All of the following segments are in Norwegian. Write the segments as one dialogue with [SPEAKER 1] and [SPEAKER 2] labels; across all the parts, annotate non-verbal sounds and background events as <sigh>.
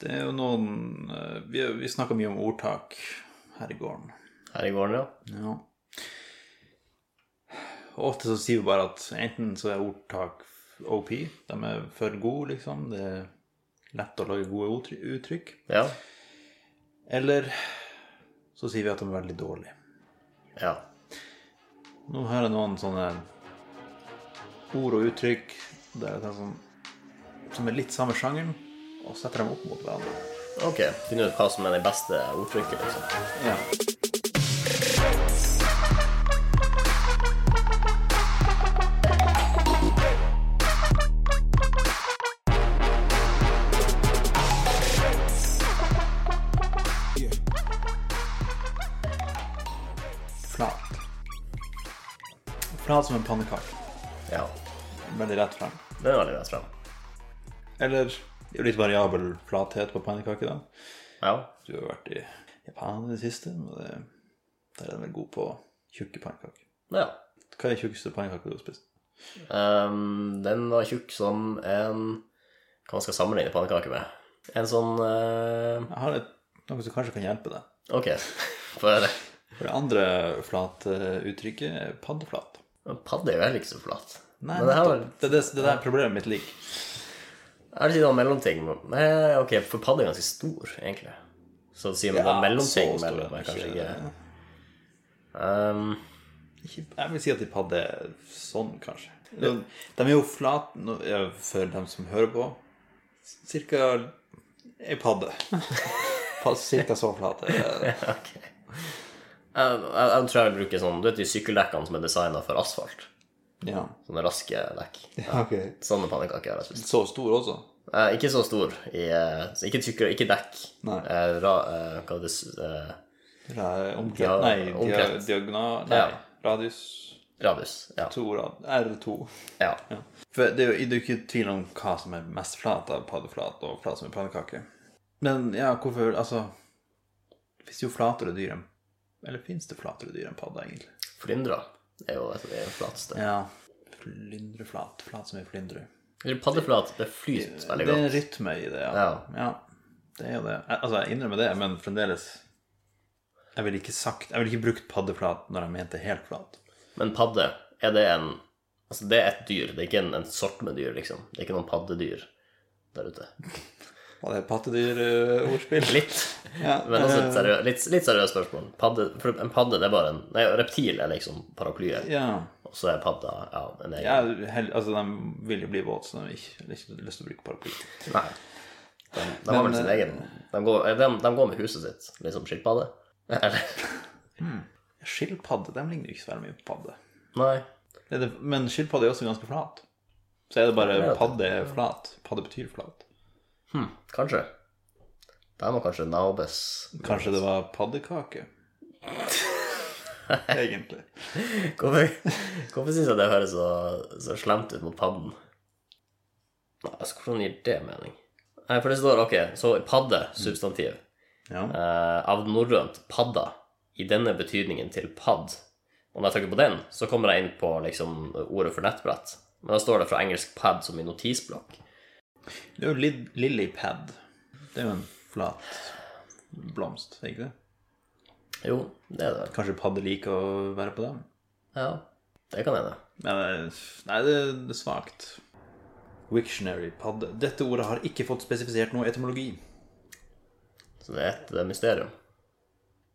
[SPEAKER 1] Det er jo noen eh, Vi, vi snakker mye om ordtak her i gården.
[SPEAKER 2] Her i gården, ja.
[SPEAKER 1] Ja. Og ofte så sier vi bare at enten så er ordtak OP, de er for gode, liksom. Det er lett å lage gode utry- uttrykk.
[SPEAKER 2] Ja.
[SPEAKER 1] Eller så sier vi at de er veldig dårlige.
[SPEAKER 2] ja.
[SPEAKER 1] Nå hører jeg noen sånne ord og uttrykk der jeg tenker sånn, som er litt samme sjangeren, og setter dem opp mot hverandre.
[SPEAKER 2] Ok. Finne ut hva som er det beste ordtrykket, liksom.
[SPEAKER 1] Ja. Flat. Flat som en pannekake.
[SPEAKER 2] Ja.
[SPEAKER 1] Veldig rett frem.
[SPEAKER 2] Den er veldig rett frem.
[SPEAKER 1] Eller det er jo litt variabel flathet på pannekaker, da.
[SPEAKER 2] Ja.
[SPEAKER 1] Du har jo vært i Japan i det siste, og det, der er den vel god på tjukke pannekaker.
[SPEAKER 2] ja.
[SPEAKER 1] Hva er den tjukkeste pannekaka du har spist?
[SPEAKER 2] Ehm, den var tjukk som en Hva man skal sammenligne pannekaker med? En sånn eh,
[SPEAKER 1] Jeg har et, noe som kanskje kan hjelpe deg.
[SPEAKER 2] Ok, <laughs> få høre.
[SPEAKER 1] For det andre flate uttrykket er paddeflat.
[SPEAKER 2] Men Padde er jo heller ikke så flat.
[SPEAKER 1] Nei,
[SPEAKER 2] Men det her var
[SPEAKER 1] nettopp. Det er det, det er der problemet mitt ligger.
[SPEAKER 2] Er det ikke noen mellomting? Nei, ok, for padde er ganske stor, egentlig. Så sier man det er en
[SPEAKER 1] så
[SPEAKER 2] mellomting
[SPEAKER 1] stor er
[SPEAKER 2] mellom
[SPEAKER 1] den
[SPEAKER 2] kanskje
[SPEAKER 1] ikke. eh.
[SPEAKER 2] ikke Ehm,
[SPEAKER 1] Ikke- Jeg vil si at de padde er sånn, kanskje. De, de er jo flate nå- ja, for dem som hører på. Cirka ei
[SPEAKER 2] <laughs>
[SPEAKER 1] padde. Pa- Cirka så flate.
[SPEAKER 2] Ok. Jeg, jeg, jeg tror jeg vil bruke sånn Du vet de sykkeldekkene som er designa for asfalt?
[SPEAKER 1] Ja.
[SPEAKER 2] Sånne raske dekk.
[SPEAKER 1] ok.
[SPEAKER 2] Sånne pannekaker har jeg spist.
[SPEAKER 1] Så stor også?
[SPEAKER 2] Eh, ikke så stor. I, eh, så ikke tykkere, ikke dekk.
[SPEAKER 1] Nei.
[SPEAKER 2] Eh, ra, eh, hva er det s- eh,
[SPEAKER 1] Nei, omkrets.
[SPEAKER 2] Ja,
[SPEAKER 1] nei, dia,
[SPEAKER 2] omkrets.
[SPEAKER 1] diagonal Nei,
[SPEAKER 2] Ja.
[SPEAKER 1] radius
[SPEAKER 2] Radius. Ja.
[SPEAKER 1] to rad, R2.
[SPEAKER 2] ja.
[SPEAKER 1] Ja. For det er jo det er jo ikke tvil om hva som er mest flat av paddeflat og flat som en pannekake. Men ja, hvorfor Altså Fins jo flatere dyr enn Eller fins det flatere dyr enn padda, egentlig?
[SPEAKER 2] Flyndra er jo et av de flateste.
[SPEAKER 1] Ja. Flyndreflat. Flat som en flyndre.
[SPEAKER 2] Eller Paddeflat, det flyter
[SPEAKER 1] Det
[SPEAKER 2] veldig
[SPEAKER 1] er en
[SPEAKER 2] godt.
[SPEAKER 1] rytme i det, ja.
[SPEAKER 2] Ja.
[SPEAKER 1] Det er jo det. Jeg- Altså, jeg innrømmer det, men fremdeles Jeg ville ikke sagt Jeg ville ikke brukt paddeflat når jeg mente helt flat.
[SPEAKER 2] Men padde, er det en Altså, det er et dyr, det er ikke en, en sort med dyr, liksom. Det er ikke noen paddedyr der ute.
[SPEAKER 1] Var det pattedyrordspill?
[SPEAKER 2] Litt.
[SPEAKER 1] ja,
[SPEAKER 2] eh,
[SPEAKER 1] eh,
[SPEAKER 2] Men altså, et seriø litt, litt seriøst spørsmål. Padde, for en padde, det er bare en Nei, reptil er liksom paraplyen,
[SPEAKER 1] ja.
[SPEAKER 2] og så er padda ja, en egen
[SPEAKER 1] Ja, hell, altså, de vil jo bli våte, så de har ikke, de har ikke lyst til å bruke paraply.
[SPEAKER 2] Nei. De, de har vel sin egen de går, eh, de, de går med huset sitt, liksom skilpadde. Eller
[SPEAKER 1] Skilpadde de ligner jo ikke så veldig mye på padde.
[SPEAKER 2] Nei.
[SPEAKER 1] Det er det, men skilpadde er også ganske flat. Så er det bare
[SPEAKER 2] Ja, det-
[SPEAKER 1] padde er flat. Padde betyr flat.
[SPEAKER 2] Hm, kanskje. Det må kanskje Naubes
[SPEAKER 1] Kanskje det var
[SPEAKER 2] <laughs>
[SPEAKER 1] paddekake? Egentlig.
[SPEAKER 2] Hvorfor, hvorfor syns jeg det høres så, så slemt ut mot padden? Nei, altså, Hvordan gir det mening? Nei, For det står ok, så padde, substantiv.
[SPEAKER 1] Ja.
[SPEAKER 2] Eh, av norrønt padda, i denne betydningen til padd. Og når jeg trykker på den, så kommer jeg inn på liksom, ordet for nettbrett. Men da står det fra engelsk pad som i notisblokk.
[SPEAKER 1] Det er jo li lilypad. Det er jo en flat blomst, er ikke det?
[SPEAKER 2] Jo, det er det.
[SPEAKER 1] Kanskje padde liker å være på dem?
[SPEAKER 2] Ja, det kan hende.
[SPEAKER 1] Men eh, nei, det det er svakt. Wiktionary, padde. Dette ordet har ikke fått spesifisert noe etymologi.
[SPEAKER 2] Så det er et eh, mysterium.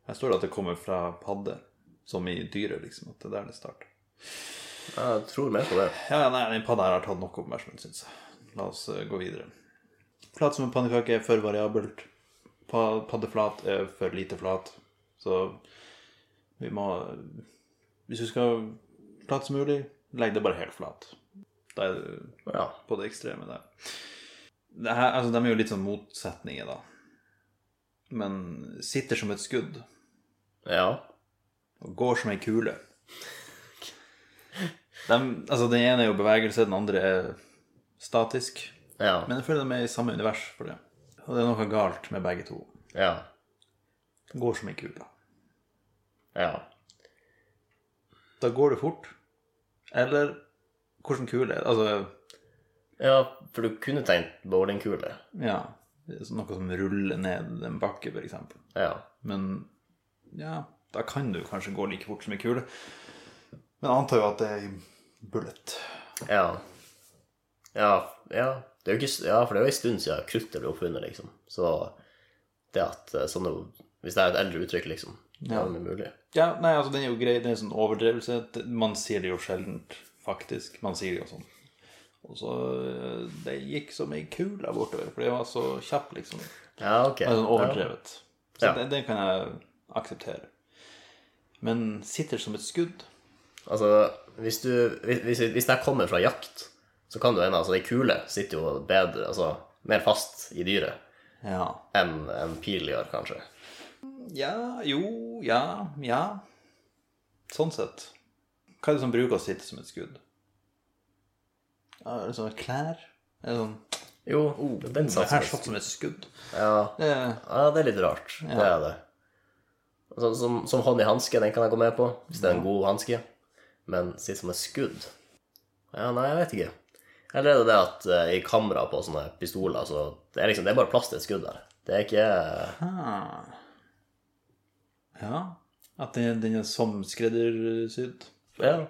[SPEAKER 1] Her står det at det kommer fra padde, som i dyret, liksom. At det er der det starter.
[SPEAKER 2] Jeg tror mer på det.
[SPEAKER 1] Ja, ja, nei, den padda her har tatt nok oppmerksomhet, syns jeg. La oss eh, gå videre. Flat som en pannekake er for variabelt. Pa paddeflat er for lite flat. Så vi må Hvis du skal flat som mulig, legg det bare helt flat. Da er du
[SPEAKER 2] Ja.
[SPEAKER 1] på det ekstreme der. Det her, altså, de er jo litt sånn motsetninger, da. Men sitter som et skudd.
[SPEAKER 2] ja.
[SPEAKER 1] og går som ei kule. Dem- altså, den ene er jo bevegelse, den andre er statisk.
[SPEAKER 2] Ja.
[SPEAKER 1] Men jeg føler de er i samme univers for det. Og det er noe galt med begge to.
[SPEAKER 2] Ja.
[SPEAKER 1] Går som ei kule.
[SPEAKER 2] Ja.
[SPEAKER 1] Da går det fort. Eller hvordan kule er det? Altså,
[SPEAKER 2] Ja, for du kunne tenkt bowlingkule.
[SPEAKER 1] ja noe som ruller ned en bakke, f.eks.
[SPEAKER 2] Ja.
[SPEAKER 1] Men ja, da kan du kanskje gå like fort som ei kule. Men jeg antar jo at det er i bullet.
[SPEAKER 2] Ja. Ja, ja. Det er jo ikke, s- ja, for det er jo en stund siden kruttet ble oppfunnet, liksom. Så det at eh, sånne Hvis det er et eldre uttrykk, liksom, det
[SPEAKER 1] Ja.
[SPEAKER 2] er det mulig.
[SPEAKER 1] Ja, nei, altså den er jo grei, det er en sånn overdrevelse. Det- Man sier det jo sjeldent, faktisk. Man sier det jo sånn. Og så eh, Det gikk som ei kule bortover, for det var så kjapp, liksom.
[SPEAKER 2] Ja, ok.
[SPEAKER 1] Altså overdrevet. Så
[SPEAKER 2] Ja.
[SPEAKER 1] det, det kan jeg akseptere. Men sitter som et skudd
[SPEAKER 2] Altså, hvis, du, hvis- hvis, hvis det her kommer fra jakt, så kan du hende altså, Ei kule sitter jo bedre, altså, mer fast i dyret
[SPEAKER 1] Ja.
[SPEAKER 2] enn en pil gjør, kanskje.
[SPEAKER 1] Ja, jo, ja, ja. Sånn sett. Hva er det som bruker å sitte som et skudd? Ja, er det sånn klær? Er det sånn
[SPEAKER 2] Jo, den
[SPEAKER 1] Det
[SPEAKER 2] satsen.
[SPEAKER 1] her satt som et skudd.
[SPEAKER 2] Ja,
[SPEAKER 1] Det er
[SPEAKER 2] ja, det er litt rart. Det er det. Altså, som, som hånd i hanske, den kan jeg gå med på, hvis det er en god hanske. Men sitt som et skudd Ja, nei, jeg vet ikke. Eller er det det at eh, i kamera på sånne pistoler, så det er liksom, det er bare plass til et skudd der. Det er ikke
[SPEAKER 1] Ah. Ja. At den, den er som skreddersydd?
[SPEAKER 2] Ja.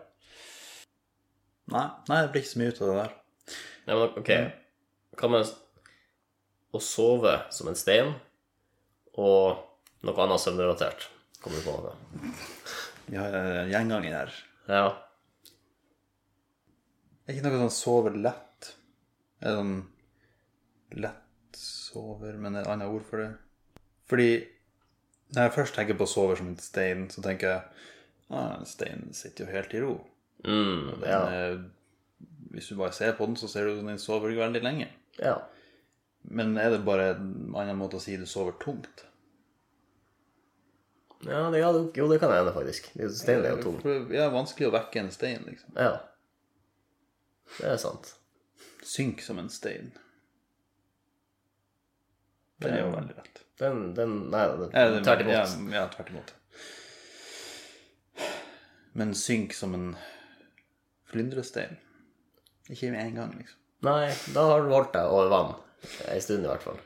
[SPEAKER 1] Nei, nei, det blir ikke så mye ut av det der.
[SPEAKER 2] Nei, men ok Kan man Å sove som en stein Og noe annet søvnrelatert Kommer du på noe?
[SPEAKER 1] Vi har eh, en gjenganger her.
[SPEAKER 2] Ja
[SPEAKER 1] Er ikke noe sånn sover lett? Er det sånn lett sover, men et annet ord for det? Fordi når jeg først tenker på sover som en stein, så tenker jeg ah, en stein sitter jo helt i ro.
[SPEAKER 2] mm,
[SPEAKER 1] Den,
[SPEAKER 2] ja.
[SPEAKER 1] eh, Hvis du bare ser på den, så ser du at den sover veldig lenge.
[SPEAKER 2] ja
[SPEAKER 1] Men er det bare en annen måte å si du sover tungt?
[SPEAKER 2] Ja, det, ja, det- jo, det kan jeg ende faktisk Det er jo stein, det er jo tom
[SPEAKER 1] For det er vanskelig å vekke en stein, liksom.
[SPEAKER 2] Ja Det er sant
[SPEAKER 1] Synk som en stein. Det er jo veldig lett.
[SPEAKER 2] Den, den, nei, den,
[SPEAKER 1] Ja, det-
[SPEAKER 2] tvert imot
[SPEAKER 1] Ja, ja, tvert imot. Men synk som en flyndrestein. Ikke med en gang, liksom.
[SPEAKER 2] Nei, da har du holdt deg over vann En stund i hvert fall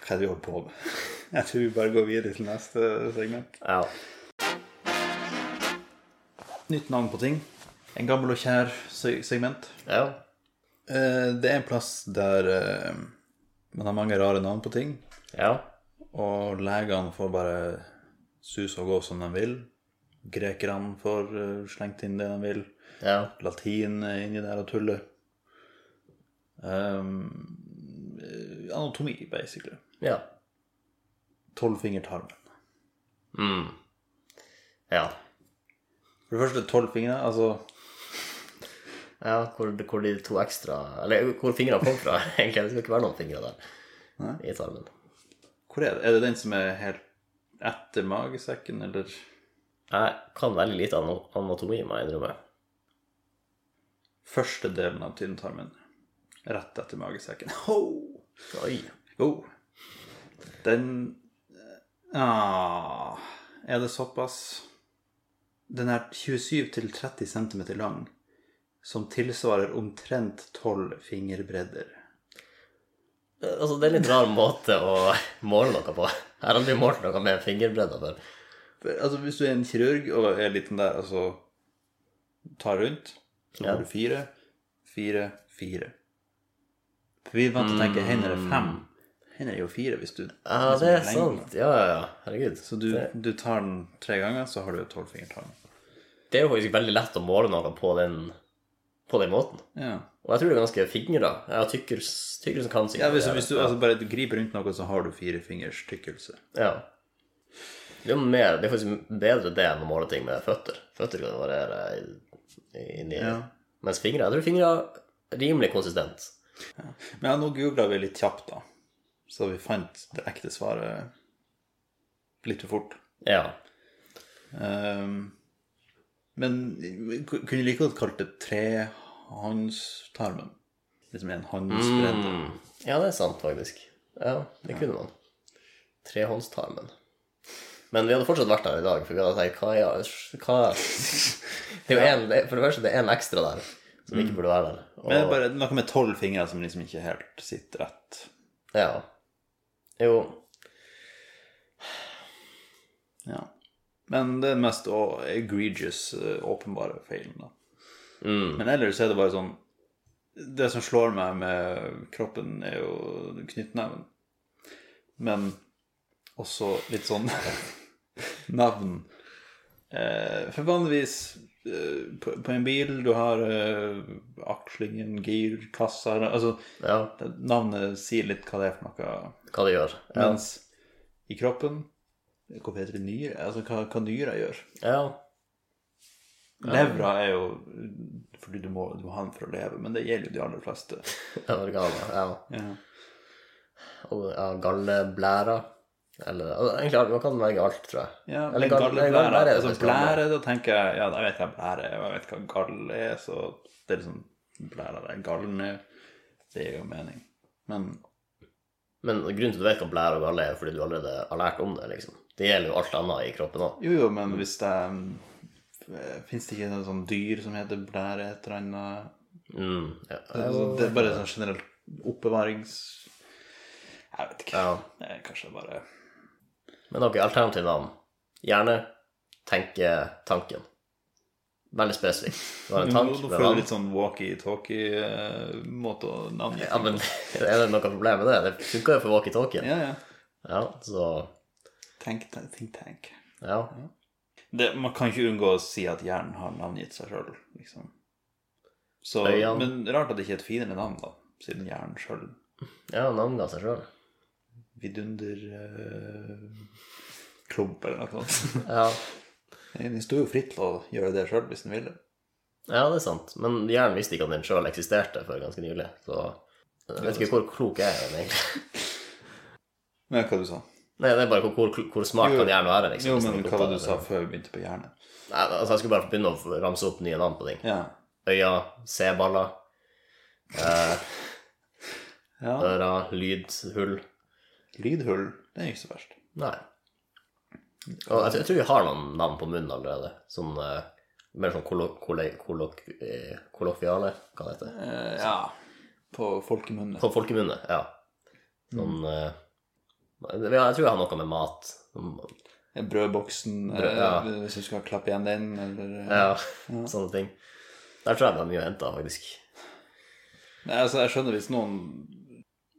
[SPEAKER 1] Hva er det vi holder på med? <laughs> Jeg tror vi bare går videre til neste segment.
[SPEAKER 2] Ja
[SPEAKER 1] Nytt navn på ting. En gammel og kjær se- segment.
[SPEAKER 2] Ja
[SPEAKER 1] Eh, Det er en plass der eh, man har mange rare navn på ting.
[SPEAKER 2] Ja
[SPEAKER 1] Og legene får bare sus og gå som de vil. Grekerne får eh, slengt inn det de vil.
[SPEAKER 2] Ja
[SPEAKER 1] Latin er inni der og tuller. Ehm, eh, anatomi, basically.
[SPEAKER 2] Ja
[SPEAKER 1] Tolvfingertarmen.
[SPEAKER 2] mm. Ja
[SPEAKER 1] For det første, tolv fingre. Altså
[SPEAKER 2] Ja, hvor, hvor de to ekstra Eller hvor fingrene kom fra, <laughs> egentlig. Det skal ikke være noen fingre der
[SPEAKER 1] Nei.
[SPEAKER 2] i tarmen.
[SPEAKER 1] Hvor er det? Er det den som er helt etter magesekken, eller
[SPEAKER 2] Jeg kan veldig lite an anatomi, må jeg innrømme.
[SPEAKER 1] første delen av tynntarmen? Rett etter magesekken. Ho!
[SPEAKER 2] Oi.
[SPEAKER 1] Jo. Den ah, Er det såpass? Den er 27-30 cm lang, som tilsvarer omtrent 12 fingerbredder.
[SPEAKER 2] Altså, det er en litt rar måte å måle noe på. Jeg har aldri målt noe med fingerbredda før.
[SPEAKER 1] For, altså, hvis du er en kirurg og er liten der, altså tar rundt, så
[SPEAKER 2] Ja.
[SPEAKER 1] får du fire, fire, fire. For vi er vant til å tenke hender er fem. Hender er jo fire hvis du
[SPEAKER 2] Mm. Ja,
[SPEAKER 1] liksom
[SPEAKER 2] det er
[SPEAKER 1] lengden.
[SPEAKER 2] sant. Ja, ja, ja. Herregud.
[SPEAKER 1] Så du, du tar den tre ganger, så har du tolvfingertarm.
[SPEAKER 2] Det er jo faktisk veldig lett å måle noe på den, på den måten.
[SPEAKER 1] Ja.
[SPEAKER 2] Og jeg tror det er ganske fingre. Jeg har tykkelse tykkelse kan sikkert
[SPEAKER 1] Ja, hvis,
[SPEAKER 2] gjøre
[SPEAKER 1] hvis du altså, bare griper rundt noe, så har du fire fingers tykkelse.
[SPEAKER 2] Ja. Det er, jo mer, det er faktisk bedre det enn å måle ting med føtter. Føtter kan variere i- inni
[SPEAKER 1] Ja.
[SPEAKER 2] Mens fingre Jeg tror fingre er rimelig konsistent.
[SPEAKER 1] Men ja, nå googla vi litt kjapt, da. Så vi fant det ekte svaret litt for fort.
[SPEAKER 2] Ja.
[SPEAKER 1] Ehm, men vi ku- kunne like godt kalt det trehåndstarmen. Liksom en håndsbredd.
[SPEAKER 2] Mm. Ja, det er sant, faktisk. Ja, det kunne man. Trehåndstarmen. Men vi hadde fortsatt vært der i dag, for vi hadde tenkt hva er hva Det er jo en, det- For det første, det er en ekstra der som ikke burde være der.
[SPEAKER 1] Mm. Men det er
[SPEAKER 2] Og,
[SPEAKER 1] bare noe med tolv fingre som liksom ikke helt sitter rett.
[SPEAKER 2] ja. Jo,
[SPEAKER 1] Ja. Men det er den mest å- egregious, eh, åpenbare feilen, da. Men ellers er det bare sånn Det som slår meg med kroppen, er jo knyttneven. Men også litt sånn <laughs> navn. Eh, for vanligvis eh, på, på en bil du har eh, akslingen, gir, kassa Altså
[SPEAKER 2] ja,
[SPEAKER 1] navnet sier litt hva det er for noe.
[SPEAKER 2] hva det gjør. Ja.
[SPEAKER 1] Mens i kroppen Hva heter det? Nyre? Altså, hva, hva nyra gjør?
[SPEAKER 2] ja.
[SPEAKER 1] Levra er jo Fordi du må, du må ha den for å leve, men det gjelder jo de aller fleste.
[SPEAKER 2] Organer. Ja.
[SPEAKER 1] Ja.
[SPEAKER 2] Og ja, galleblæra. Eller og egentlig alt- man kan velge alt, tror jeg.
[SPEAKER 1] Ja,
[SPEAKER 2] Eller
[SPEAKER 1] men
[SPEAKER 2] gall-
[SPEAKER 1] galleblære,
[SPEAKER 2] nei, galleblære er det
[SPEAKER 1] altså
[SPEAKER 2] faktisk galleblære.
[SPEAKER 1] blære, da tenker jeg Ja, jeg vet hva blære er, og jeg vet hva gall er, så det er liksom blæra der. Gallen er Det gir jo mening. Men
[SPEAKER 2] Men grunnen til at du vet hva blære og galle er, jo fordi du allerede har lært om det. liksom. Det gjelder jo alt annet i kroppen òg.
[SPEAKER 1] jo, jo, men hvis det Fins det ikke noe sånn dyr som heter blære et eller annet?
[SPEAKER 2] Mm, ja.
[SPEAKER 1] Altså, det er bare sånn generelt oppbevarings... Jeg vet ikke.
[SPEAKER 2] Ja.
[SPEAKER 1] Det er kanskje bare
[SPEAKER 2] Men ok, alternativ navn. Gjerne tenke tanken. Veldig spesifikt. Du
[SPEAKER 1] <laughs>
[SPEAKER 2] har
[SPEAKER 1] Nå
[SPEAKER 2] en
[SPEAKER 1] nå
[SPEAKER 2] tank med
[SPEAKER 1] får du
[SPEAKER 2] navn.
[SPEAKER 1] litt sånn walkie-talkie-måte å navngi
[SPEAKER 2] Ja, men <laughs> er det noe problem med det? Det funka jo for walkietalkien.
[SPEAKER 1] Ja, ja.
[SPEAKER 2] Ja, så
[SPEAKER 1] Tenk, tenk, tenk. tenk.
[SPEAKER 2] Ja.
[SPEAKER 1] Det, man kan ikke unngå å si at hjernen har navngitt seg sjøl, liksom. Så,
[SPEAKER 2] Øyene.
[SPEAKER 1] men rart at det ikke er et finere navn, da, siden hjernen sjøl
[SPEAKER 2] ja navnga seg sjøl.
[SPEAKER 1] vidunderklump eh, klump eller noe
[SPEAKER 2] <laughs>
[SPEAKER 1] sånt.
[SPEAKER 2] Ja.
[SPEAKER 1] Den sto jo fritt til å gjøre det sjøl hvis den ville.
[SPEAKER 2] ja, det er sant. Men hjernen visste ikke at den sjøl eksisterte før ganske nylig, så jeg vet ikke hvor klok jeg er, men egentlig. <laughs>
[SPEAKER 1] Men hva du sa
[SPEAKER 2] Nei, det er bare hvor, hvor, hvor smart
[SPEAKER 1] Jo.
[SPEAKER 2] kan hjernen være, liksom.
[SPEAKER 1] Jo,
[SPEAKER 2] hvis den
[SPEAKER 1] men
[SPEAKER 2] ikke
[SPEAKER 1] hva var det
[SPEAKER 2] oppdager
[SPEAKER 1] du sa før vi begynte på hjerne?
[SPEAKER 2] det. Nei, altså, jeg skulle bare begynne å ramse opp nye navn på ting.
[SPEAKER 1] Ja.
[SPEAKER 2] Øya, C-baller, Eh,
[SPEAKER 1] ja.
[SPEAKER 2] ører, lydhull.
[SPEAKER 1] Lydhull, det er ikke så verst.
[SPEAKER 2] Nei. Og jeg, jeg tror vi har noen navn på munnen allerede. Sånn eh, mer sånn kollo- kolle- kollok- eh, kollokviale, hva det heter.
[SPEAKER 1] Eh, ja. På folkemunne.
[SPEAKER 2] På folkemunne, ja. Sånn eh, nei, ja, Jeg tror jeg har noe med mat.
[SPEAKER 1] Brødboksen,
[SPEAKER 2] Brød, ja.
[SPEAKER 1] eh, hvis du skal klappe igjen den, eller eh,
[SPEAKER 2] Ja, <laughs> sånne ting. Der tror jeg det er mye å hente, faktisk.
[SPEAKER 1] Nei, altså, jeg skjønner hvis noen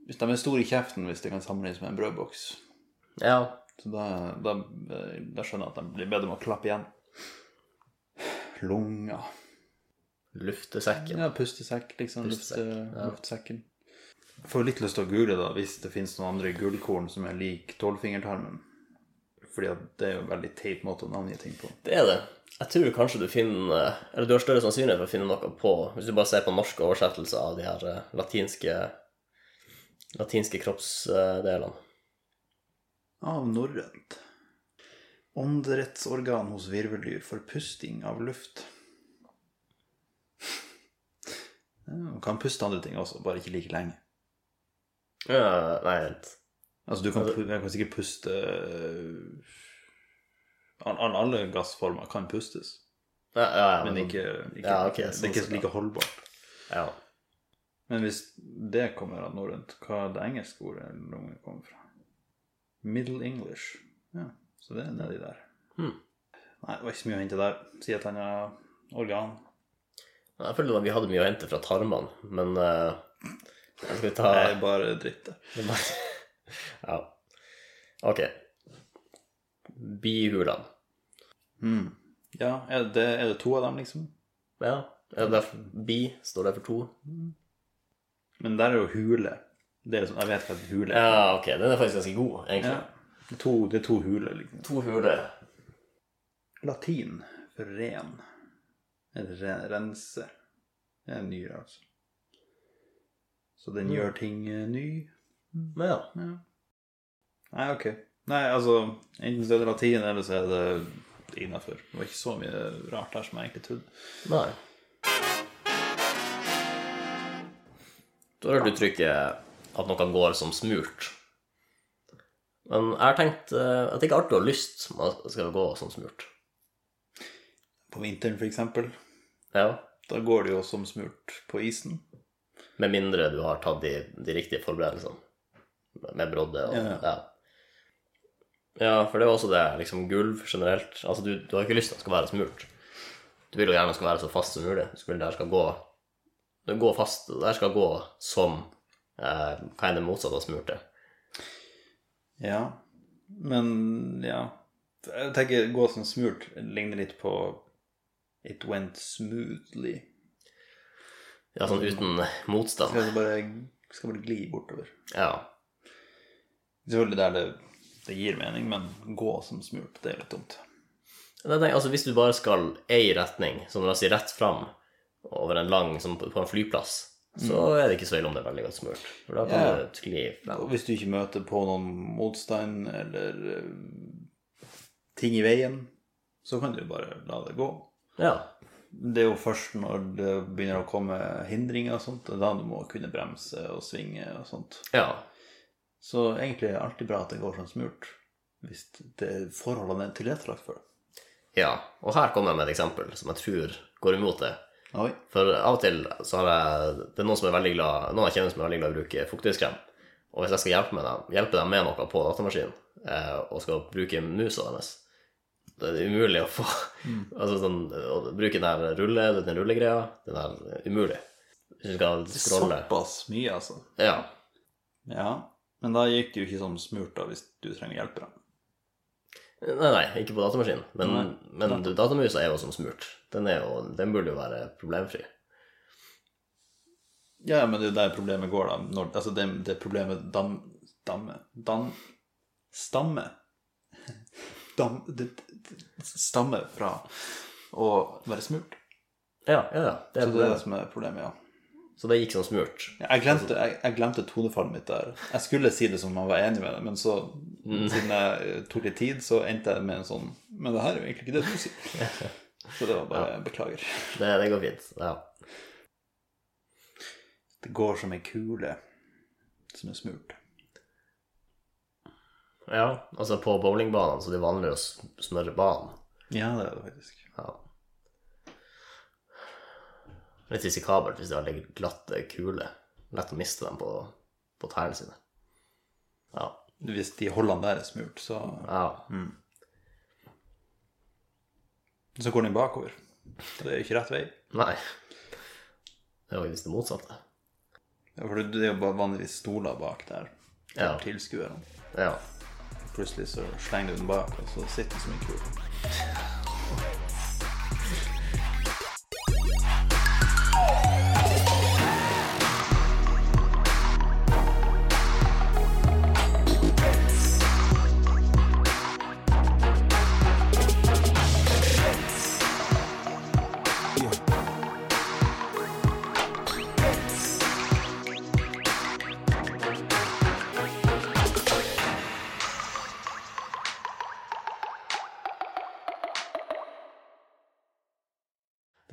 [SPEAKER 1] Hvis de er store i kjeften hvis det kan sammenlignes med en brødboks,
[SPEAKER 2] Ja.
[SPEAKER 1] så da, da, eh, da skjønner jeg at de blir bedt om å klappe igjen. Lunga
[SPEAKER 2] Luftesekken.
[SPEAKER 1] Ja, pustesekk, liksom.
[SPEAKER 2] Pustesekk,
[SPEAKER 1] lufte-
[SPEAKER 2] ja.
[SPEAKER 1] Luftsekken. Jeg får litt lyst til å google, da, hvis det finnes noen andre gullkorn som er lik tolvfingertarmen. Fordi at det er jo en veldig teip måte å navngi ting på.
[SPEAKER 2] Det er det. Jeg tror kanskje du finner Eller du har større sannsynlighet for å finne noe på Hvis du bare ser på norske oversettelser av de her eh, latinske latinske kroppsdelene.
[SPEAKER 1] Av norrønt. Åndedrettsorgan hos virveldyr for pusting av luft. Ja, man kan puste andre ting også, bare ikke like lenge.
[SPEAKER 2] Ja, nei, vent.
[SPEAKER 1] Altså, du kan, pu- jeg kan sikkert puste Al- al- Alle gassformer kan pustes,
[SPEAKER 2] Ja, ja, ja,
[SPEAKER 1] men
[SPEAKER 2] men-
[SPEAKER 1] ikke, ikke
[SPEAKER 2] Ja, ok,
[SPEAKER 1] Det
[SPEAKER 2] sånn
[SPEAKER 1] er ikke
[SPEAKER 2] sett,
[SPEAKER 1] like holdbart.
[SPEAKER 2] ja.
[SPEAKER 1] Men hvis det kommer av norrønt, hva er det engelske ordet lunge kommer fra? Middle English. Ja, så det er nedi der.
[SPEAKER 2] Hmm.
[SPEAKER 1] Nei, det var ikke så mye å hente der. Si et annet organ.
[SPEAKER 2] Jeg føler at vi hadde mye å hente fra tarmene, men eh, jeg skal ta
[SPEAKER 1] Det er bare dritt der.
[SPEAKER 2] <laughs> Ja. Ok. Bihulene.
[SPEAKER 1] Hmm. Ja, er det, er det to av dem, liksom?
[SPEAKER 2] Ja, er det derfor bi står det for to?
[SPEAKER 1] Men der er jo hule. Det er liksom, jeg vet hva et hule er.
[SPEAKER 2] Ja, ok, den er faktisk ganske god, egentlig.
[SPEAKER 1] Det, er to, det er to huler, liksom.
[SPEAKER 2] To huler.
[SPEAKER 1] Latin for ren. Eller re- rense. Det er en nyre, altså. Så den gjør ting eh, ny.
[SPEAKER 2] Men ja.
[SPEAKER 1] Ja. Nei, ok. Nei, altså, enten så er det latin, eller så er det innafor. Det var ikke så mye rart der som jeg egentlig trodde.
[SPEAKER 2] Nei. Du har hørt uttrykket at noe går som smurt. Men jeg har tenkt eh, at det ikke er artig å ha lyst som skal gå som smurt.
[SPEAKER 1] På vinteren, for eksempel.
[SPEAKER 2] Ja,
[SPEAKER 1] Da går det jo som smurt på isen.
[SPEAKER 2] Med mindre du har tatt de, de riktige forberedelsene. med brodde og
[SPEAKER 1] Ja, ja.
[SPEAKER 2] ja. Ja, for det var også det. liksom Gulv generelt. Altså, du, du har ikke lyst til at det skal være smurt. Du vil jo gjerne at det skal være så fast som mulig. Du skal, det her skal gå, det går fast, det her skal gå som eh, hva enn det motsatte av smurte.
[SPEAKER 1] Ja. Men ja. Jeg tenker gå som smurt ligner litt på It went smoothly.
[SPEAKER 2] Ja, sånn uten motstand.
[SPEAKER 1] Skal altså bare, skal bare gli bortover.
[SPEAKER 2] Ja.
[SPEAKER 1] Selvfølgelig der det, det gir mening, men gå som smurt, det er litt dumt.
[SPEAKER 2] Men jeg tenker, altså, hvis du bare skal ei retning, som la oss si rett fram, over en lang, som på på en flyplass, så er det ikke så ille om det er veldig godt smurt. For da kan
[SPEAKER 1] Mm. Ja.
[SPEAKER 2] du skli frem.
[SPEAKER 1] Og hvis du ikke møter på noen motstand eller eh, ting i veien, så kan du jo bare la det gå.
[SPEAKER 2] Ja.
[SPEAKER 1] Det er jo først når det begynner å komme hindringer og sånt, det er da du må kunne bremse og svinge og sånt.
[SPEAKER 2] ja.
[SPEAKER 1] Så egentlig er det alltid bra at det går som smurt, hvis det, forholdene er tilrettelagt for det.
[SPEAKER 2] Ja. Og her kommer jeg med et eksempel som jeg tror går imot det.
[SPEAKER 1] Oi.
[SPEAKER 2] For av og til så har jeg Det er noen som er veldig glad Noen jeg kjenner som er veldig glad i å bruke fuktighetskrem. Og hvis jeg skal hjelpe, med dem, hjelpe dem med noe på datamaskinen, eh, og skal bruke musa hennes Det er umulig å få <laughs> Altså sånn Å bruke den der rulle, den rullegreia Den er umulig. Hvis du skal scrolle
[SPEAKER 1] Såpass mye, altså.
[SPEAKER 2] Ja.
[SPEAKER 1] Ja. Men da gikk det jo ikke som smurt, da, hvis du trenger hjelp. Da.
[SPEAKER 2] Nei, nei, ikke på datamaskinen. Men,
[SPEAKER 1] Nei.
[SPEAKER 2] men du, datamusa er jo som smurt. Den, er jo, den burde jo være problemfri.
[SPEAKER 1] Ja, men det er jo der problemet går, da. Når, altså det, det problemet dam... Damme Dan... Stamme. <laughs> Dam... Det, det, stammer fra å være smurt.
[SPEAKER 2] Ja, ja, ja. Det
[SPEAKER 1] Så det er det
[SPEAKER 2] er problemet.
[SPEAKER 1] som er problemet, ja.
[SPEAKER 2] Så det gikk som smurt.
[SPEAKER 1] Jeg glemte, jeg, jeg glemte tonefallet mitt der. Jeg skulle si det som om jeg var enig med det, men så, siden jeg eh, tok litt tid, så endte jeg med en sånn Men det her er jo egentlig ikke det du <laughs> sier. Så det var bare Beklager.
[SPEAKER 2] Det, det går fint. Ja.
[SPEAKER 1] Det går som ei kule som er smurt.
[SPEAKER 2] Ja, altså på bowlingbanene, så det er vanlig å s- smøre banen.
[SPEAKER 1] Ja, det er det faktisk.
[SPEAKER 2] Ja. Litt risikabelt hvis det er veldig glatte kuler. eh, Lett å miste dem på, på tærne sine. Ja.
[SPEAKER 1] Hvis de hullene der er smurt, så,
[SPEAKER 2] ja.
[SPEAKER 1] Mm. så går den bakover. Det er jo ikke rett vei.
[SPEAKER 2] Nei. Det var jo visst det motsatte.
[SPEAKER 1] Ja, For det det er jo bare vanligvis stoler bak der for
[SPEAKER 2] Ja.
[SPEAKER 1] tilskuerne.
[SPEAKER 2] Ja.
[SPEAKER 1] Plutselig så slenger du den bak, og så sitter den som en kule.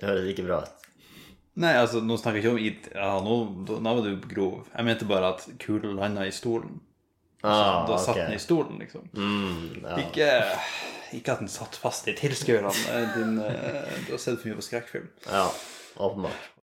[SPEAKER 2] Det høres ikke bra ut.
[SPEAKER 1] Nei, altså, nå snakker jeg ikke om it... Ja, nå, nå var du grov. Jeg mente bare at kula landa i stolen.
[SPEAKER 2] Ah,
[SPEAKER 1] Da satt
[SPEAKER 2] ok.
[SPEAKER 1] den i stolen, liksom.
[SPEAKER 2] Mm, ja.
[SPEAKER 1] Ikke, ikke at den satt fast i tilskuerne. eh, din, eh, Du har sett for mye på skrekkfilm.
[SPEAKER 2] ja. Åpenbart.